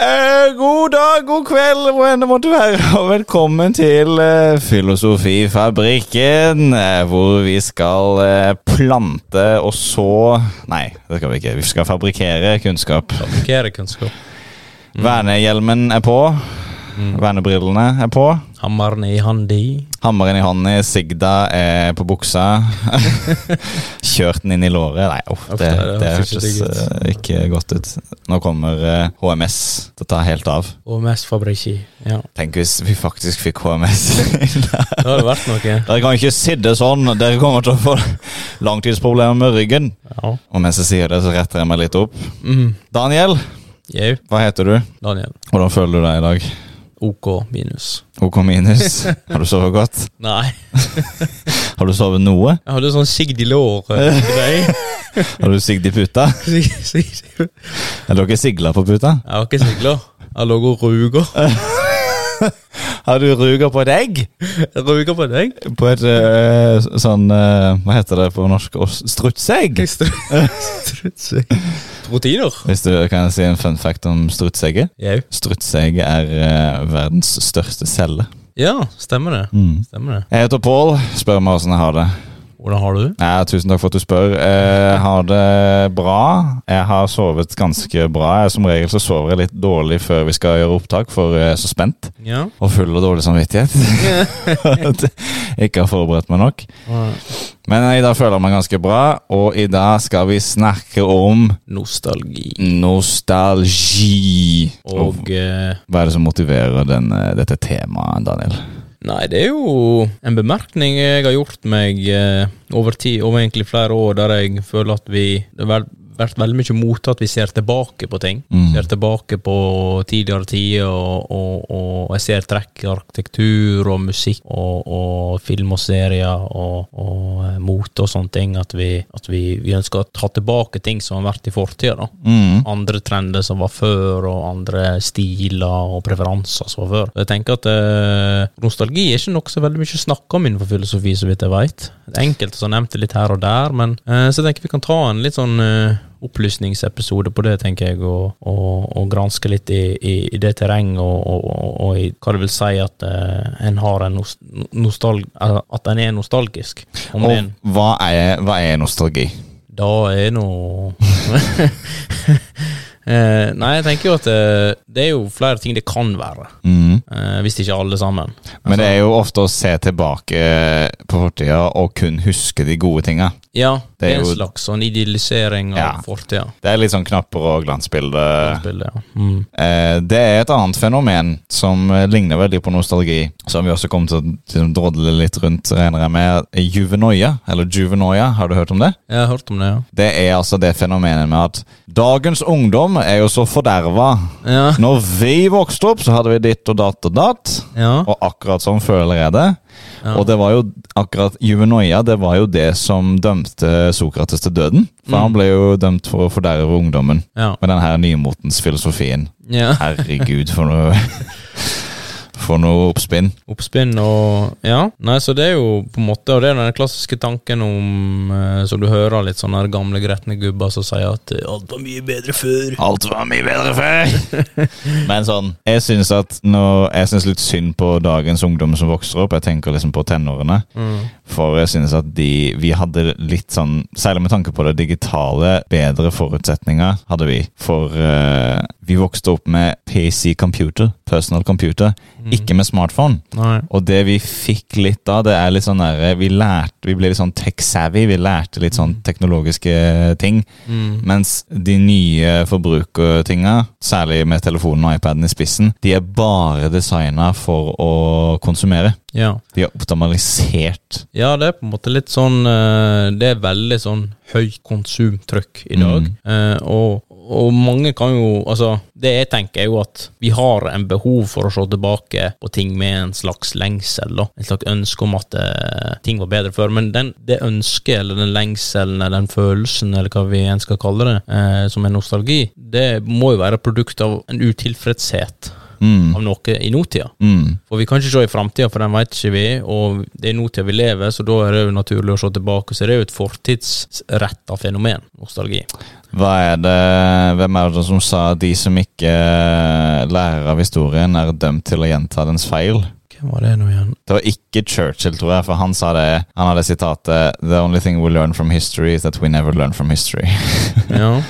Eh, god dag, god kveld, hvor enn det måtte være, og velkommen til eh, Filosofifabrikken, eh, hvor vi skal eh, plante og så Nei, det skal vi ikke. Vi skal fabrikkere kunnskap. Fabrikkere kunnskap. Vernehjelmen er på. Vernebrillene er på. Hammeren i handi. Hammeren i hånden i sigda er på buksa. Kjørt den inn i låret. Nei, uff, Uff, det, det det høres ikke hørtes digg ut. eh, ikke godt ut. Nå kommer eh, HMS til å ta helt av. Og mest fabrikki. Ja. Tenk hvis vi faktisk fikk HMS. Det hadde vært noe. Dere kan ikke sitte sånn. Dere kommer til å få langtidsproblemer med ryggen. Ja. Og mens jeg sier det, så retter jeg meg litt opp. Mm. Daniel, Jau, hva heter du? Daniel. Hvordan føler du deg i dag? OK minus. OK minus. Har du sovet godt? Nei. Har du sovet noe? Jeg hadde sånn sigd i låret. Har du sigd i puta? Sig- sig- sig- Jeg Er dere sigla på puta? har ikke sigla. Jeg lå og ruga. Har du ruga på et egg? Ruga på deg? På et øh, sånn øh, Hva heter det på norsk? Os- Strutseegg? Proteiner? Hvis du kan si en fun fact om strutseegget? Jau. Strutseegg er eh, verdens største celle. Ja, stemmer det. Stemmer det. Jeg heter Pål. Spør meg åssen jeg har det. Hvordan har du det? Ja, tusen takk for at du spør. Jeg har det bra. Jeg har sovet ganske bra. Jeg, som regel så sover jeg litt dårlig før vi skal gjøre opptak, for jeg er så spent. Ja. Og full av dårlig samvittighet. At jeg ikke har forberedt meg nok. Men i dag føler jeg meg ganske bra, og i dag skal vi snakke om Nostalgi. nostalgi. Og Og eh, hva er det som motiverer denne, dette temaet, Daniel? Nei, det er jo en bemerkning jeg har gjort meg eh, over tid, over egentlig flere år, der jeg føler at vi Det har vært- vært veldig mye mot at vi ser tilbake på ting. Mm. Ser tilbake på tidligere tider, og, og, og jeg ser trekk i arkitektur og musikk og, og film og serier og, og eh, mote og sånne ting, at vi, at vi, vi ønsker å ta tilbake ting som har vært i fortida, da Mm. andre trender som var før, og andre stiler og preferanser som var før. Jeg tenker at eh, nostalgi er ikke noe så veldig mye snakk om innenfor filosofi, så vidt jeg vet. Det er enkelte som har nevnt det litt her og der, men eh, så jeg tenker vi kan ta en litt sånn eh, opplysningsepisode på det, tenker jeg, og, og, og granske litt i, i, i det terrenget og, og, og, og i hva det vil si at eh, en har en nos- nostal... eh, At en er nostalgisk. Om det er en Og hva er, hva er nostalgi? da er nå Eh, Nei, jeg tenker jo at eh, det er jo flere ting det kan være. Mm. eh, hvis ikke alle sammen. Men det er jo ofte å se tilbake på fortida og kun huske de gode tinga. Altså, Ja, det Det er er en jo- slags sånn idealisering av Ja. fortida. Det er litt sånn knapper og glansbilde. Bildet, ja. Mm. Eh, Det er et annet fenomen som eh, ligner veldig på nostalgi, som vi også kommer til å liksom, drodle litt rundt, regner jeg med. Juvenoia, eller juvenoia, har du hørt om det? Jeg har hørt om det, ja. Det er altså det fenomenet med at dagens ungdom er jo så forderva. Ja, Når vi vokste opp, så hadde vi ditt og datt og datt. ja, Og akkurat sånn føler jeg det. Ja. Og det var jo akkurat juvenoia, det var jo det som dømte Sokrates til døden. For han ble jo dømt for å forderve ungdommen ja. med den her nymotens filosofien. ja. Herregud, for noe For noe oppspinn. Oppspinn og Ja. Nei, så det er jo på en måte Og det er den klassiske tanken om eh, Som du hører litt sånne her gamle gretne gubber som sier at eh, alt var mye bedre før. Alt var mye bedre før! Men sånn, jeg syns at når Jeg syns litt synd på dagens ungdom som vokser opp. Jeg tenker liksom på tenårene. Mm. For jeg synes at de, vi hadde litt sånn, særlig med tanke på det digitale, bedre forutsetninger hadde vi. For eh, vi vokste opp med PC computer, personal computer, ikke med smartphone. mm, Nei. Og det vi fikk litt av, det er litt sånn der, vi lærte, vi ble litt sånn tech-savvy, vi lærte litt sånn teknologiske ting. Mm. Mens de nye forbrukertinga, særlig med telefonen og iPaden i spissen, de er bare designa for å konsumere. Ja. De er optimalisert Ja, det er på en måte litt sånn eh, Det er veldig sånn høyt konsumtrykk i dag. Mm. Eh, og, og mange kan jo Altså, det jeg tenker, er jo at vi har en behov for å se tilbake på ting med en slags lengsel, da. En slags ønske om at eh, ting var bedre før. Men den, det ønsket, eller den lengselen, eller den følelsen, eller hva vi enn skal kalle det, eh, som er nostalgi, det må jo være produkt av en utilfredshet. Mm. av noe i nåtida. Mm. For vi kan ikke se i framtida, for den veit ikke vi, og det er nåtida vi lever, så da er det jo naturlig å se tilbake. Så det er jo et fortidsretta fenomen, nostalgi. Hva er det, Hvem er det som sa at de som ikke lærer av historien, er dømt til å gjenta dens feil? Hvem var det nå igjen? Det var ikke Churchill, tror jeg, for han sa det. Han hadde sitatet The only thing we learn from history is that we never learn from history. Ja.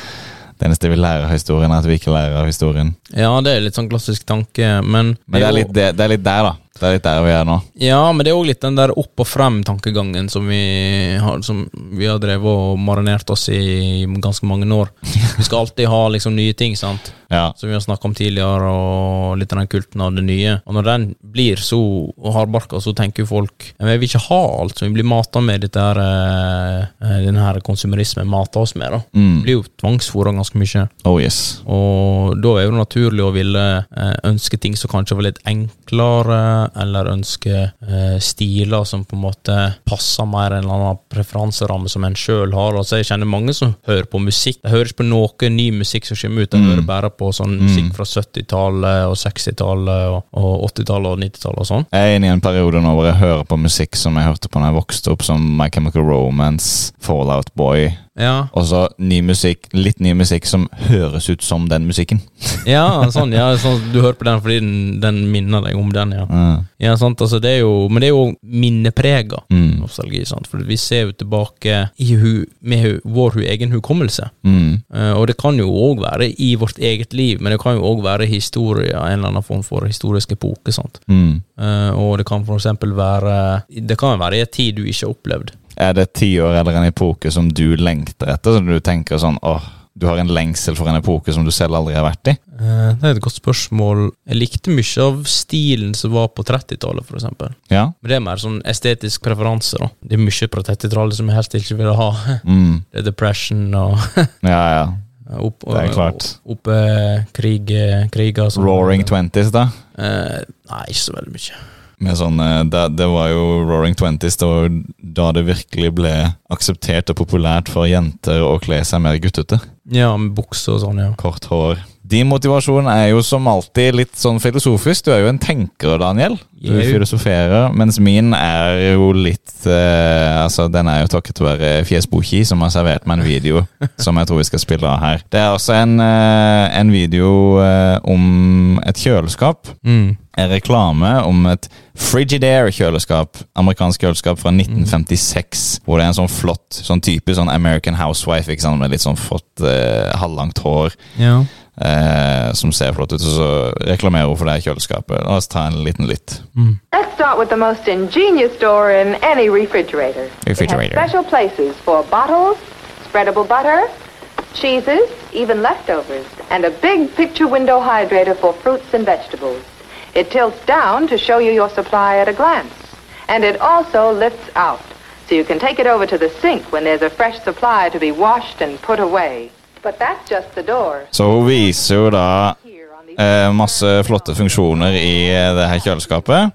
Det eneste vi lærer av historien, er at vi ikke lærer av historien. ja, det er litt sånn klassisk tanke, men Men det er jo- litt, det, det er litt der, da. Det er litt der vi er nå. Ja, men det er òg litt den der opp og frem-tankegangen som, vi har- som vi har drevet og marinert oss i i ganske mange år. Vi skal alltid ha liksom nye ting, sant. Ja. Som vi har snakka om tidligere, og litt av den kulten av det nye. Og når den blir så hardbarka, så tenker jo folk Men jeg vil ikke ha alt som vi blir mata med dette her eh, eh, denne her konsumerismen mata oss med, da. Vi Mm. blir jo tvangsfôra ganske mye. Oh yes. Og da er det jo naturlig å ville eh, ønske ting som kanskje var litt enklere, eller ønske eh, stiler som på en måte passer mer en eller annen preferanseramme som en sjøl har. Altså, jeg kjenner mange som hører på musikk. Jeg hører ikke på noe ny musikk som kommer ut, jeg hører bare på sånn musikk fra 70-tallet og 60-tallet og, og 80-tallet og 90-tallet og sånn. Jeg er inne i en periode nå hvor jeg hører på musikk som jeg hørte på da jeg vokste opp, som My Chemical Romance, Fallout Boy, Ja, og så ny musikk, litt ny musikk som høres ut som den musikken. ja, sånn, ja sånn, du hører på den fordi den, den minner deg om den, ja. Mm. ja sant, altså, det er jo, men det er jo minneprega. Mm. nostalgi. Sant? For vi ser jo tilbake i hu, med hu, vår hu, egen hukommelse. Mm. Eh, og det kan jo òg være i vårt eget liv, men det kan jo òg være historie, en eller annen form for historisk epoke. Sant? Mm. Eh, og det kan for eksempel være Det kan være i en tid du ikke har opplevd. Er det ti år eller en epoke som du lengter etter, som du tenker sånn åh, du har en lengsel for en epoke som du selv aldri har vært i? Eh, det er et godt spørsmål. Jeg likte mye av stilen som var på 30-tallet, for eksempel. Ja. Men det er mer sånn estetisk preferanse, da. Det er mye på 30-tallet som jeg helst ikke ville ha. Mm. Det er depression og Ja, ja. Opp, Det er klart. Opp, eh, krig, eh, kriger som- Roaring Twenties, da? Eh, nei, ikke så veldig mye. Med sånn, eh, det, det var jo Roaring Twenties det var jo da det virkelig ble akseptert og populært for jenter å kle seg mer guttete. Ja, med bukser og sånn, ja. Kort hår. Din motivasjon er jo som alltid litt sånn filosofisk. Du er jo en tenker, Daniel. Du Jeg er jo- filosoferer. Mens min er jo litt eh, Altså, den er jo takket være Fjesboki, som har servert meg en video som jeg tror vi skal spille av her. Det er også en, eh, en video eh, om et kjøleskap. Mm. En reklame om et Frigidaire-kjøleskap. Amerikansk kjøleskap fra 1956. Hvor det er en sånn flott sånn type sånn American Housewife ikke sant? med litt sånn flott eh, halvlangt hår Ja. eh, som ser flott ut, og så reklamerer hun for det her kjøleskapet. La oss ta en liten lytt. Let's start with the most ingenious door in any refrigerator. It Refrigerator. has special places for bottles, spreadable butter, cheeses, even leftovers, and a big picture window hydrator for fruits and vegetables. It tilts down to show you your supply at a glance, and it also lifts out, so you can take it over to the sink when there's a fresh supply to be washed and put away. But that's just the door. Så hun viser jo da Here on the eh, masse flotte funksjoner i eh, det her kjøleskapet.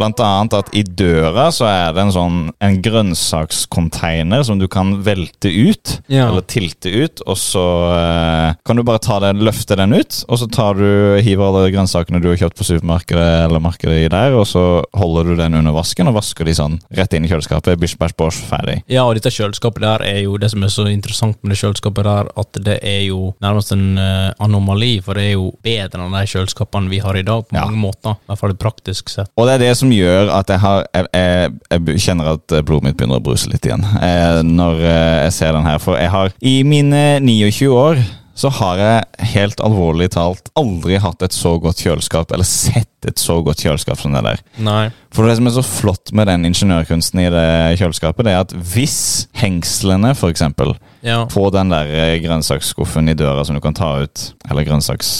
Blant annet at i døra så er det en sånn en grønnsakscontainer som du kan velte ut. Ja. Eller tilte ut, og så eh, kan du bare ta den, løfte den ut, og så tar du, hiver alle grønnsakene du har kjøpt på supermarkedet eller markedet i der, og så holder du den under vasken og vasker de sånn rett inn i kjøleskapet. Bish, bash, bosh, ferdig. ja, og dette kjøleskapet der er jo det som er så interessant med det kjøleskapet der, at det er jo nærmest en eh, anomali, for det er jo bedre enn de kjøleskapene vi har i dag, på Ja. mange måter. I hvert fall praktisk sett. Og det er det som gjør at jeg, har, jeg, jeg, jeg kjenner at eh, blodet mitt begynner å bruse litt igjen eh, når eh, jeg ser den her. For jeg har i mine 29 år så har jeg helt alvorlig talt aldri hatt et så godt kjøleskap, eller sett et så godt kjøleskap som det der. Nei. For det som er så flott med den ingeniørkunsten i det kjøleskapet, det er at hvis hengslene, for eksempel, Ja. på den der eh, grønnsakskuffen i døra som du kan ta ut, eller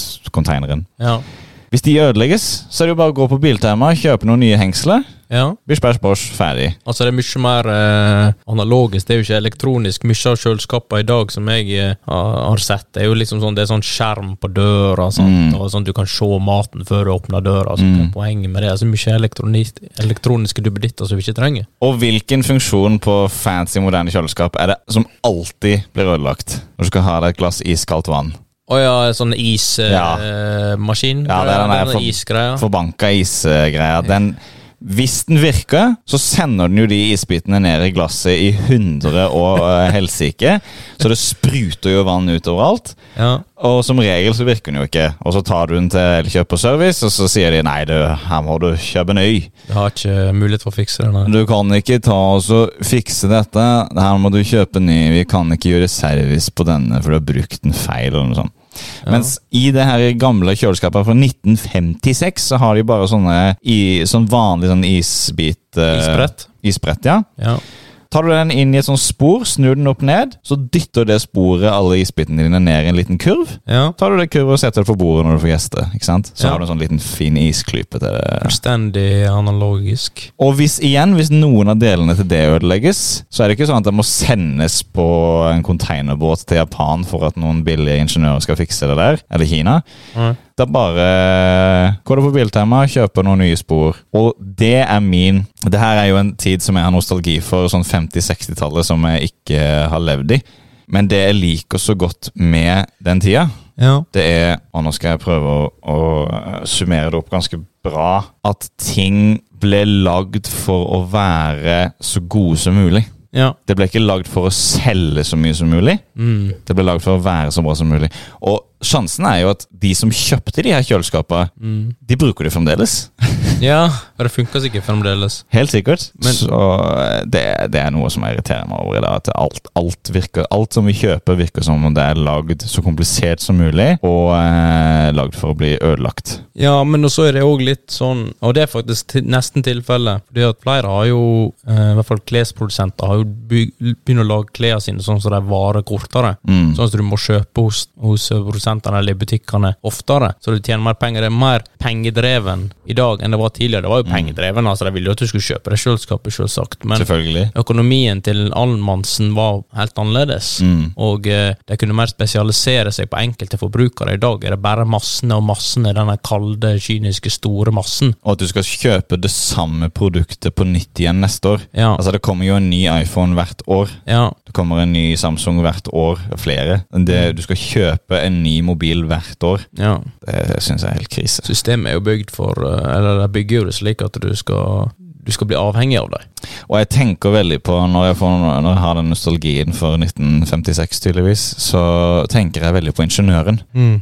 grønnsakscontaineren Ja. Hvis de ødelegges, så er det jo bare å gå på Biltema, kjøpe noen nye hengsler, ja. Bish, bæsj, bosh, ferdig. Altså Det er mye mer eh, analogisk, det er jo ikke elektronisk. Mye av kjøleskapene i dag som jeg eh, har har sett, det er jo liksom sånn Det er sånn skjerm på døra, sant? Mm. og sånn du kan se maten før du åpner døra. Så hva er Poenget med det altså mye elektronis- elektroniske duppeditter som vi ikke trenger. Og hvilken funksjon på fancy, moderne kjøleskap er det som alltid blir ødelagt når du skal ha deg et glass iskaldt vann? Å ja, sånn Ja. ismaskin? Ja, det er den der for- isgreia. Forbanka isgreier. Den, hvis den virker, så sender den jo de isbitene ned i glasset i hundre og eh, helsike. Så det spruter jo vann ut overalt. Ja. Og som regel så virker den jo ikke. Og så tar du den til Elkjøp og Service, og så sier de nei, du, her må du kjøpe en øy. Jeg har ikke eh, mulighet for å fikse det, nei. Du kan ikke ta oss og fikse dette. Her må du kjøpe ny. Vi kan ikke gjøre service på denne, for du har brukt den feil. eller noe sånt. Mens i det her gamle kjøleskapet fra 1956 så har de bare sånne i, sånn vanlig sånn isbit... eh, Isbrett. Isbrett, ja. Ja. Tar du den inn i et sånt spor, snur den opp ned, så dytter det sporet alle isbitene dine ned i en liten kurv. ja. Tar du det kurvet og setter det på bordet når du får gjester, ikke sant? så Ja. har du en sånn liten fin isklype til det. Fullstendig analogisk. Og hvis igjen, hvis noen av delene til det ødelegges, så er det ikke sånn at det må sendes på en containerbåt til Japan for at noen billige ingeniører skal fikse det der, eller Kina. Nei. Da bare eh, går du på Biltema, kjøper noen nye spor. Og det er min Det her er jo en tid som jeg har nostalgi for, sånn 50-60-tallet som jeg ikke har levd i. Men det jeg liker så godt med den tida, Ja. det er, og nå skal jeg prøve å, å eh, summere det opp ganske bra, at ting ble lagd for å være så gode som mulig. Ja. Det ble ikke lagd for å selge så mye som mulig. Mm. Det ble lagd for å være så bra som mulig. Og sjansen er jo at de som kjøpte de her kjøleskapene, Mm. de bruker det fremdeles. Ja, men det funker sikkert fremdeles. Helt sikkert. Men- så eh, det, det er noe som irriterer meg over i dag. At alt, alt, virker, alt som vi kjøper, virker som om det er lagd så komplisert som mulig, og eh, lagd for å bli ødelagt. Ja, men så er det òg litt sånn, og det er faktisk til, nesten tilfellet, fordi at flere har jo, eh, i hvert fall klesprodusenter, har jo byg- begynt å lage klærne sine sånn som de varer kortere. Mm. Sånn at du må kjøpe hos, hos produsentene eller i butikkene oftere, så du tjener mer penger. Det er mer pengedreven i dag enn det var tidligere. Det var jo pengedreven, altså de ville jo at du skulle kjøpe det kjøleskapet, selvsagt, men Selvfølgelig. Økonomien til Almannsen var helt annerledes, Mm. og eh, de kunne mer spesialisere seg på enkelte forbrukere. I dag er det bare massene og massene, denne kalde, kyniske, store massen. Og at du skal kjøpe det samme produktet på nytt igjen neste år. Ja, Altså Det kommer jo en ny iPhone hvert år. ja, Det kommer en ny Samsung hvert år. Flere. Det, du skal kjøpe en ny mobil hvert år. ja. Det syns jeg er helt krise. Systemet er jo bygd for eh, Eller de bygger jo det slik at du skal, du skal bli avhengig av dem. Og jeg tenker veldig på, når jeg, får, når jeg har den nostalgien for 1956, tydeligvis, så tenker jeg veldig på ingeniøren.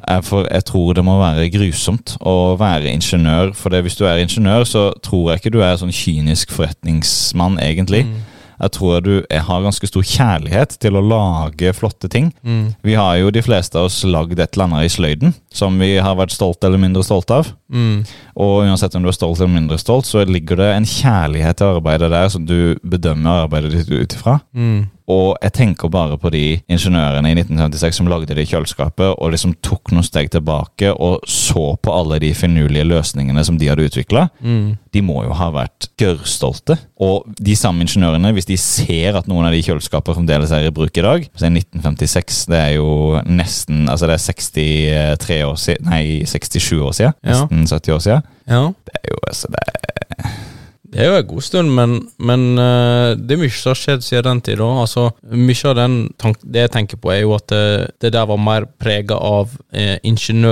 Jeg- For jeg tror det må være grusomt å være ingeniør. For det, hvis du er ingeniør, så tror jeg ikke du er sånn kynisk forretningsmann, egentlig. Mm. Jeg tror du jeg har ganske stor kjærlighet til å lage flotte ting. Mm. Vi har jo de fleste av oss lagd et eller annet i sløyden som vi har vært stolt eller mindre stolt av. Mm. Og uansett om du er stolt eller mindre stolt, så ligger det en kjærlighet til arbeidet der som du bedømmer arbeidet ditt ut ifra. Mm. Og jeg tenker bare på de ingeniørene i 1956 som lagde det i kjøleskapet, og liksom tok noen steg tilbake og så på alle de finurlige løsningene som de hadde utvikla. Mm. De må jo ha vært gørrstolte. Og de samme ingeniørene, hvis de ser at noen av de kjøleskapene fremdeles er i bruk i dag så er 1956, det er jo nesten Altså det er 63 år siden Nei, 67 år siden. Ja. Nesten 70 år siden. Ja. Det er jo altså det er, Det er jo en god stund, men, men eh, det er mye som har skjedd siden den tid. da. Altså, mye av den tank det jeg tenker på, er jo at eh, det der var mer prega av eh,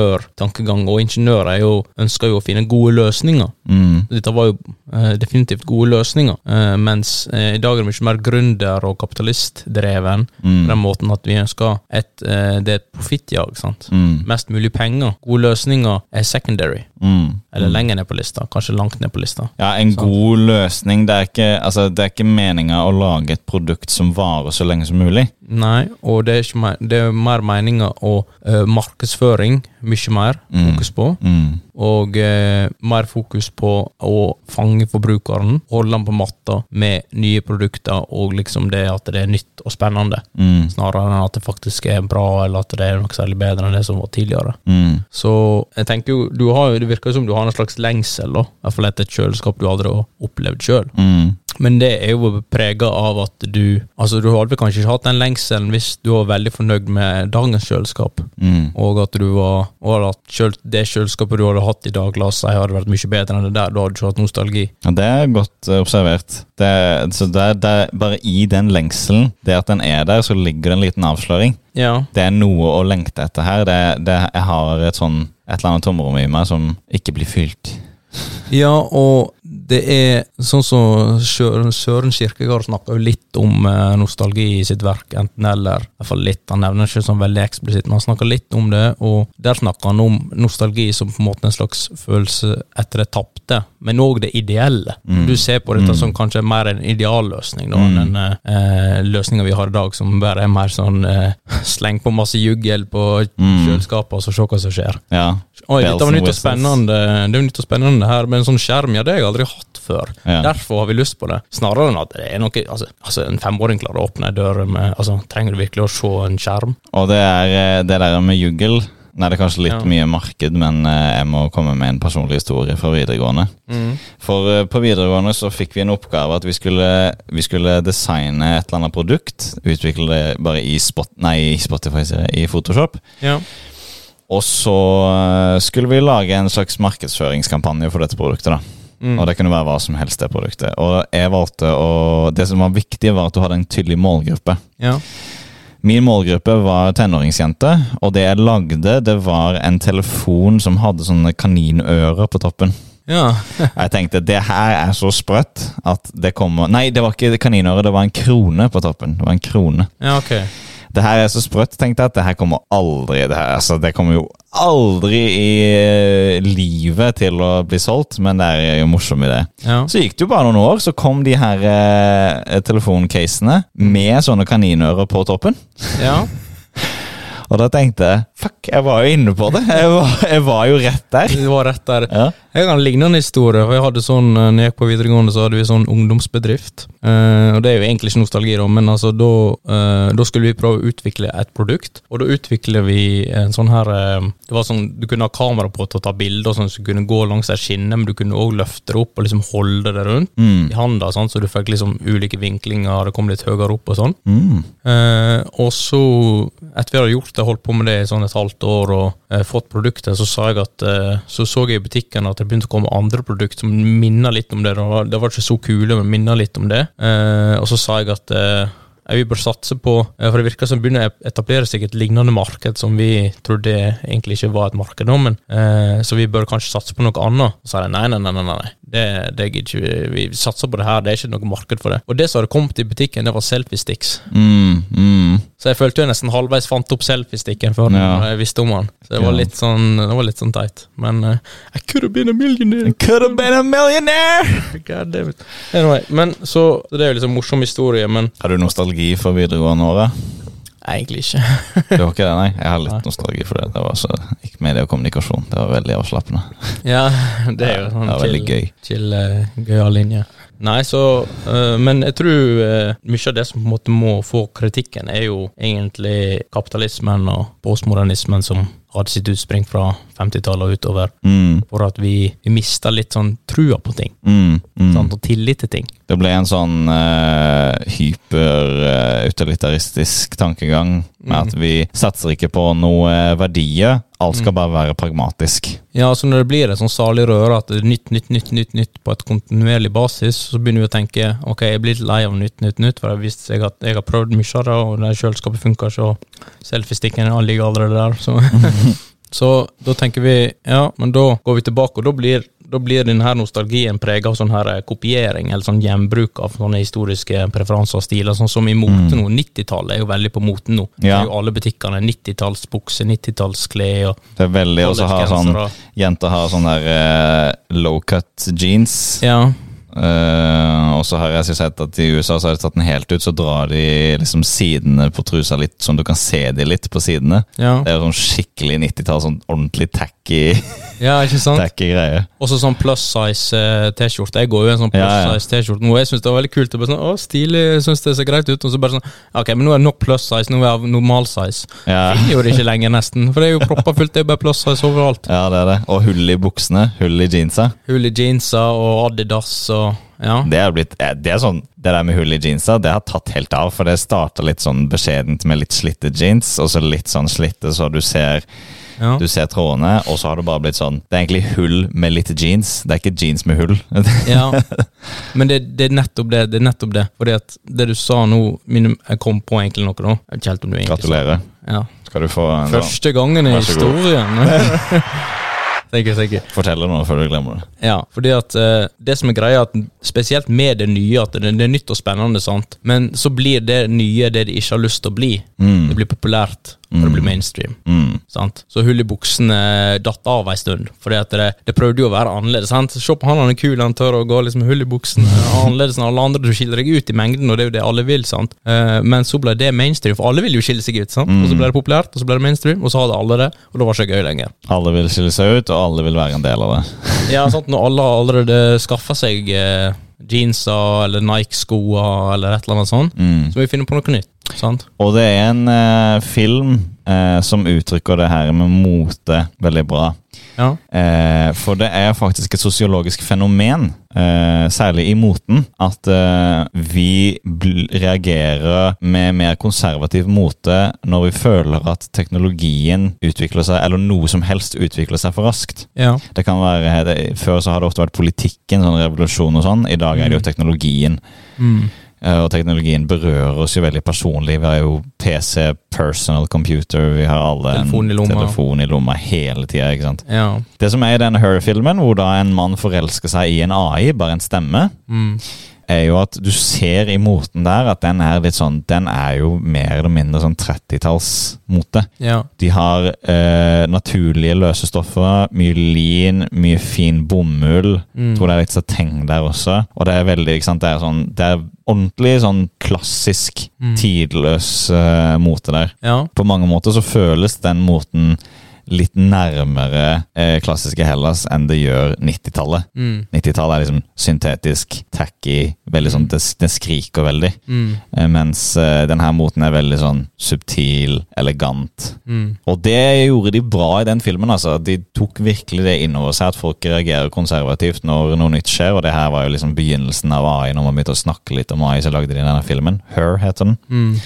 ingeniørtankegang, og ingeniører er jo, ønsker jo å finne gode løsninger. mm, Dette var jo eh, definitivt gode løsninger, eh, mens eh, i dag er det mye mer gründer- og kapitalistdreven. På mm, den måten at vi ønsker et, eh, det er et profittjag. sant? mm, Mest mulig penger. Gode løsninger er secondary, mm. eller Sånn. lenger ned på lista. Kanskje langt ned på lista. Ja, en Sant. god løsning. Det er ikke, altså, det er ikke meninga å lage et produkt som varer så lenge som mulig. Nei, og det er, ikke mer, det er mer meninger og eh, markedsføring, mye mer Mm. fokus på. Mm. Og eh, mer fokus på å fange forbrukeren, holde han på matta med nye produkter og liksom det at det er nytt og spennende, Mm. snarere enn at det faktisk er bra eller at det er noe særlig bedre enn det som var tidligere. Mm. Så jeg tenker jo, du har, jo- det virker jo som du har en slags lengsel, da. i hvert fall etter et kjøleskap du aldri har opplevd sjøl. Mm. Men det er jo prega av at du Altså, du hadde kanskje ikke hatt den lengselen hvis du var veldig fornøyd med dagens kjøleskap, Mm. og at du var Og at kjøl, det kjøleskapet du hadde hadde hatt i dag, Lasse, hadde vært mye bedre enn det der. Da hadde du ikke hatt nostalgi. Ja, det er godt eh, observert. Det, er- så det, er- det er bare i den lengselen, det at den er der, så ligger det en liten avsløring. Ja. Det er noe å lengte etter her. Det, det, jeg har et sånn et eller annet tomrom i meg som ikke blir fylt. ja, og det er sånn som Søren, Søren Kirkegaard snakker jo litt om eh, nostalgi i sitt verk, enten eller. I hvert fall litt. Han nevner ikke sånn veldig eksplisitt, men han snakker litt om det, og der snakker han om nostalgi som på en måte en slags følelse etter det tapte, men òg det ideelle. Mm. Du ser på dette Mm. som kanskje mer en idealløsning da, Mm. enn en eh, løsninga vi har i dag, som bare er mer sånn eh, sleng på masse juggel på Mm. kjøleskapet, og så se hva som skjer. Ja. Oi, dette Bells var and nytt og whistles. spennende. Det er jo nytt og spennende her, men en sånn skjerm ja, det har jeg aldri hatt før. Ja. Derfor har vi lyst på det. Snarere enn at det er noe altså, altså, En femåring klarer å åpne ei dør med altså, Trenger du virkelig å se en skjerm? Og det er eh, det der med juggel. Nei, det er kanskje litt Ja. mye marked, men eh, jeg må komme med en personlig historie fra videregående. For eh, på videregående så fikk vi en oppgave at vi skulle, vi skulle designe et eller annet produkt. Utvikle det bare i, spot, nei, i Spotify, sier jeg, i Photoshop. Ja. Og så eh, skulle vi lage en slags markedsføringskampanje for dette produktet. da. Mm. Og det kunne være hva som helst, det produktet. Og jeg valgte å Det som var viktig, var at du hadde en tydelig målgruppe. ja. Min målgruppe var tenåringsjente, og det jeg lagde, det var en telefon som hadde sånne kaninører på toppen. ja. Jeg tenkte det her er så sprøtt at det kommer Nei, det var ikke kaninøre, det var en krone på toppen. Det var en krone. Ja, ok. Det her er så sprøtt, tenkte jeg, at det her kommer aldri det her, altså, det kommer jo aldri i eh, livet til å bli solgt, men det er jo en morsom idé. Ja. Så gikk det jo bare noen år, så kom de her eh, telefoncasene med sånne kaninører på toppen. ja. Og da tenkte jeg fuck, jeg var jo inne på det. Jeg var, jeg var jo rett der. Det var rett der. Ja. Jeg har en lignende historie. for jeg hadde sånn, eh, når jeg gikk på videregående, så hadde vi sånn ungdomsbedrift. Eh, og Det er jo egentlig ikke nostalgi, da, men altså, da, eh, da skulle vi prøve å utvikle et produkt. Og da utvikler vi en sånn her eh, det var sånn, Du kunne ha kamera på til å ta bilder, sånn, så du kunne gå langs ei skinne, men du kunne òg løfte det opp og liksom holde det rundt. Mm. I handa, sånn, så du fikk liksom ulike vinklinger, det kom litt høyere opp og sånn. Mm. Eh, og så, etter vi hadde gjort det, holdt på med det i sånn et halvt år og eh, fått produktet, så sa jeg at eh, så så jeg i butikken at det begynte å komme andre produkter som minner litt om det. Det var, det var ikke så kule, men minner litt om det. Eh, og så sa jeg at eh, vi bør satse på eh, For det virker som det begynner å etablere seg et lignende marked som vi trodde egentlig ikke var et marked, nå, men eh, så vi bør kanskje satse på noe annet. Så sa de nei, nei, nei, nei, nei. Det, det gidder ikke vi. Vi satser på det her, det er ikke noe marked for det. Og det som hadde kommet i butikken, det var selfie-sticks. Mm. Mm. Så jeg følte jo nesten halvveis fant opp selfiestikken før Ja. jeg visste om han. Så det var Ja. litt sånn, det var litt sånn teit. Men eh, I could have been a millionaire! Could have been a millionaire! God damn it. Anyway, men så, så det er jo liksom morsom historie, men Har du nostalgi for videregående året? egentlig ikke. Det var ikke det, nei. Jeg har Nei. litt nostalgi for det. Det var så, Ikke medie og kommunikasjon. Det var veldig avslappende. ja, det er jo sånn Det var veldig gøy. Chill, eh, gøyal linje. Nei, så eh, Men jeg tror eh, mye av det som på en måte må få kritikken, er jo egentlig kapitalismen og postmodernismen som hadde sitt utspring fra 50-tallet og utover, Mm. for at vi, vi mista litt sånn trua på ting. Mm. Mm. sant, og tillit til ting. Det ble en sånn eh, hyper-utilitaristisk tankegang med at vi satser ikke på noe verdier. Alt skal bare være pragmatisk. Ja, så når det blir en sånn salig røre at det er nytt, nytt, nytt, nytt, nytt på et kontinuerlig basis, så begynner vi å tenke ok, jeg blir litt lei av nytt, nytt, nytt, for jeg har vist seg at jeg har prøvd mye av det, og det kjøleskapet funker ikke, og selfiestikken ligger allerede der, så Så da tenker vi ja, men da går vi tilbake, og da blir, da blir denne nostalgien prega av sånn her eh, kopiering, eller sånn gjenbruk av sånne historiske preferanser og stiler, sånn som i mote nå. 90-tallet er jo veldig på moten nå. Det Ja. er jo alle butikkene 90-tallsbukser, 90-tallsklær og Det er veldig Og så har sånn Collegegensere. Jenter har sånn der eh, low cut jeans. Ja. Eh, og så har jeg sett at i USA så har de tatt den helt ut, så drar de liksom sidene på trusa litt, sånn du kan se de litt på sidene. Ja. Det er jo sånn skikkelig 90-tall, sånn ordentlig tacky, ja, ikke sant? tacky greie. Også sånn plus size eh, T-skjorte. Jeg går jo i en sånn plus Ja, ja. size T-skjorte nå. og Jeg syns det var veldig kult. Det bare sånn, å, stilig, jeg synes det ser greit ut. Og så bare sånn Ok, men nå er det nok plus size, nå er jeg av normal size. Ja. Finner jo det ikke lenger, nesten. For det er jo proppa fullt, det er bare plus size overalt. ja, det er det. Og hull i buksene, hull i jeansa. Hull i jeansa og Adidas og Ja. Det er blitt, eh, det er sånn, det der med hull i jeansa, det har tatt helt av, for det starta litt sånn beskjedent med litt slitte jeans, og så litt sånn slitte så du ser Ja. Du ser trådene, og så har det bare blitt sånn Det er egentlig hull med litt jeans. Det er ikke jeans med hull. Ja, men det, det er nettopp det. det er nettopp det. Fordi at det du sa nå minim- Jeg kom på egentlig noe nå. Jeg vet ikke helt om du egentlig sa det. Gratulerer. Ja. Skal du få en Først. Første gangen i Vær så god. historien. Thank you, thank you. fortelle noe før du glemmer det? Ja, fordi at eh, det som er greia, er at spesielt med det nye, at det, det er nytt og spennende, sant? men så blir det nye det de ikke har lyst til å bli. Mm. Det blir populært, og det blir mainstream. Mm. Sant? Så hull i buksene datt av ei stund. Fordi at det, det prøvde jo å være annerledes. Sant? Se på han han er kul, han tør å gå liksom hull i buksene. Annerledes enn alle andre. Du skiller deg ut i mengden, og det er jo det alle vil. sant? Eh, men så ble det mainstream, for alle vil jo skille seg ut. Mm. sant? Og så ble det populært, og så ble det mainstream, og så hadde alle det, og det var ikke gøy lenger. Alle vil skille seg ut, og alle vil være en del av det. Ja, sant? Når alle har allerede skaffa seg eh, jeanser eller Nike-skoer eller et eller annet sånt, Mm. så må vi finne på noe nytt. sant? Og det er en eh, film eh, som uttrykker det her med mote veldig bra. Ja. Eh, for det er faktisk et sosiologisk fenomen, eh, særlig i moten, at eh, vi bl reagerer med mer konservativ mote når vi føler at teknologien utvikler seg, eller noe som helst utvikler seg for raskt. ja. Det kan være, eh, det, Før så har det ofte vært politikken, sånn revolusjon og sånn. I dag er det jo teknologien. Mm. Eh, Og teknologien berører oss jo veldig personlig. Vi har jo PC, personal computer, vi har alle Telefon i lomma. telefon i lomma hele tida. ikke sant? ja. Det som er i denne Her-filmen, hvor da en mann forelsker seg i en AI, bare en stemme, Mm. er jo at du ser i moten der at den er litt sånn Den er jo mer eller mindre sånn 30-tallsmote. ja. De har eh, naturlige løse stoffer, mye lin, mye fin bomull. Mm. Tror det er litt sateng der også. Og det er veldig, ikke sant, det er sånn Det er ordentlig sånn klassisk, Mm. tidløs eh, mote der. Ja. På mange måter så føles den moten litt nærmere eh, klassiske Hellas enn det gjør 90-tallet. Mm. 90-tallet er liksom syntetisk, tacky, veldig sånn, det, det skriker veldig. Mm. Eh, mens eh, denne moten er veldig sånn subtil, elegant. Mm. Og det gjorde de bra i den filmen. altså. De tok virkelig det innover seg at folk reagerer konservativt når noe nytt skjer. Og det her var jo liksom begynnelsen av AI. Når man begynte å snakke litt om AI, så lagde de denne filmen. Her heter den. Mm.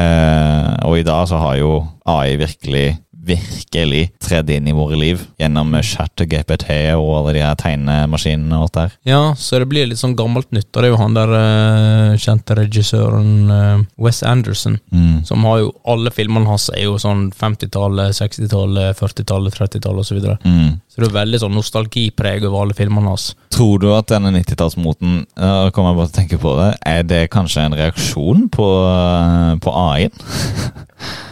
Eh, og i dag så har jo AI virkelig virkelig tredd inn i våre liv gjennom chat og GPT og alle de her tegnemaskinene og alt der. Ja, så det blir litt sånn gammelt nytt. Og det er jo han der eh, kjente regissøren eh, Wes Anderson, Mm. som har jo alle filmene hans er jo sånn 50-tallet, 60-tallet, 40-tallet, 30-tallet osv. Så, videre. Mm. så det er veldig sånn nostalgipreg over alle filmene hans. Tror du at denne 90-tallsmoten eh, kommer jeg bare til å tenke på det, er det kanskje en reaksjon på, eh, på AI-en?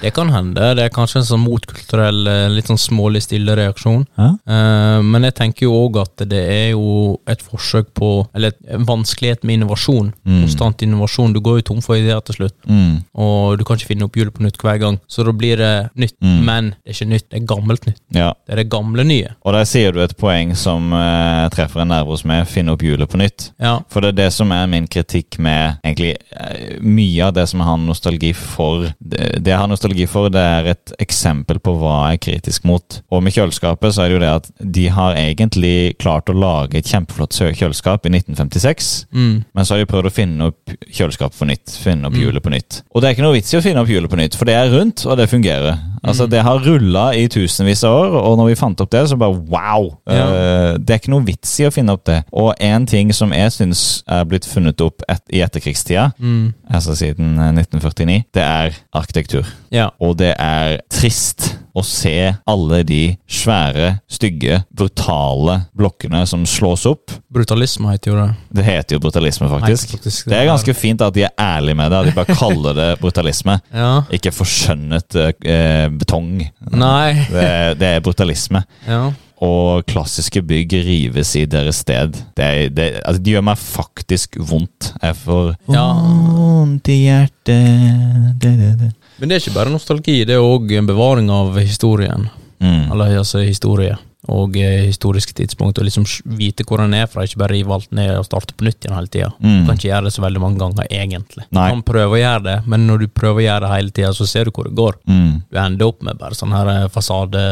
Det kan hende. Det er kanskje en sånn motkulturell, eh, litt sånn smålig stille reaksjon. Ja. Eh, men jeg tenker jo òg at det er jo et forsøk på Eller et- en vanskelighet med innovasjon. Mm. Konstant innovasjon. Du går jo tom for ideer til slutt. Mm. og du kan ikke finne opp hjulet på nytt hver gang. Så da blir det nytt, Mm. men det er ikke nytt, det er gammelt nytt. Ja, Det er det gamle nye. og der sier du et poeng som eh, treffer en nerve hos meg, finne opp hjulet på nytt. Ja, For det er det som er min kritikk med egentlig eh, mye av det som jeg har nostalgi for. Det, det jeg har nostalgi for, det er et eksempel på hva jeg er kritisk mot. Og med kjøleskapet så er det jo det at de har egentlig klart å lage et kjempeflott sø- kjøleskap i 1956. mm. Men så har de prøvd å finne opp kjøleskapet på nytt. Finne opp Mm. hjulet på nytt. Og det er ikke noe vits i å finne opp hjulet på nytt, for det er rundt, og det fungerer. Mm. Altså, Det har rulla i tusenvis av år, og når vi fant opp det, så bare wow! Ja. Eh, det er ikke noe vits i å finne opp det. Og én ting som jeg syns er blitt funnet opp et, i etterkrigstida, Mm. altså siden eh, 1949, det er arkitektur. ja. Og det er trist å se alle de svære, stygge, brutale blokkene som slås opp. Brutalisme heter jo det. Det heter jo brutalisme, faktisk. Nei, faktisk, Det er ganske fint at de er ærlige med det. At de bare kaller det brutalisme. Ja. Ikke forskjønnet eh, betong. Nei. Det, er- det er brutalisme. Ja. Og klassiske bygg rives i deres sted. Det, er, det, altså, det gjør meg faktisk vondt. Jeg får Ja. vondt i hjertet det, det, det. Men det er ikke bare nostalgi, det er òg en bevaring av historien. Mm. Eller altså historie. Og eh, historiske tidspunkt, og liksom sj- vite hvor den er fra. Ikke bare rive alt ned og starte på nytt igjen hele tida. Mm. Kan ikke gjøre det så veldig mange ganger, egentlig. Nei. Kan prøve å gjøre det, men når du prøver å gjøre det hele tida, så ser du hvor det går. Mm. du ender opp med bare sånne her eh,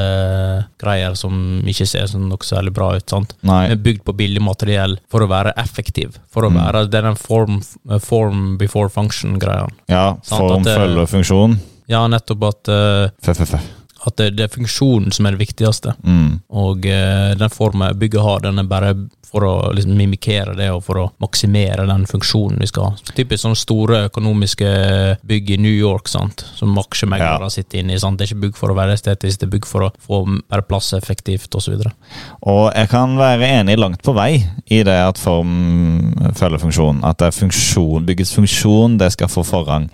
fasadegreier som ikke ser sånn noe så veldig bra ut. sant? Nei. Men Bygd på billig materiell for å være effektiv. For å Mm. være det er den form, eh, form before function-greia. Ja, Sant form at det- følger funksjon. Ja, nettopp at eh, Fø, fø, fø. At det, det er funksjonen som er det viktigste. Mm. Og eh, den formen bygget har, den er bare for å liksom, mimikere det, og for å maksimere den funksjonen vi skal ha. Typisk sånne store økonomiske bygg i New York, sant, som aksjemeglere Ja. sitter inne i. sant, Det er ikke bygg for å være estetisk, det er bygg for å få mer plass effektivt, osv. Og jeg kan være enig langt på vei i det at form følger funksjon. At det er funksjon, byggets funksjon, det skal få forrang.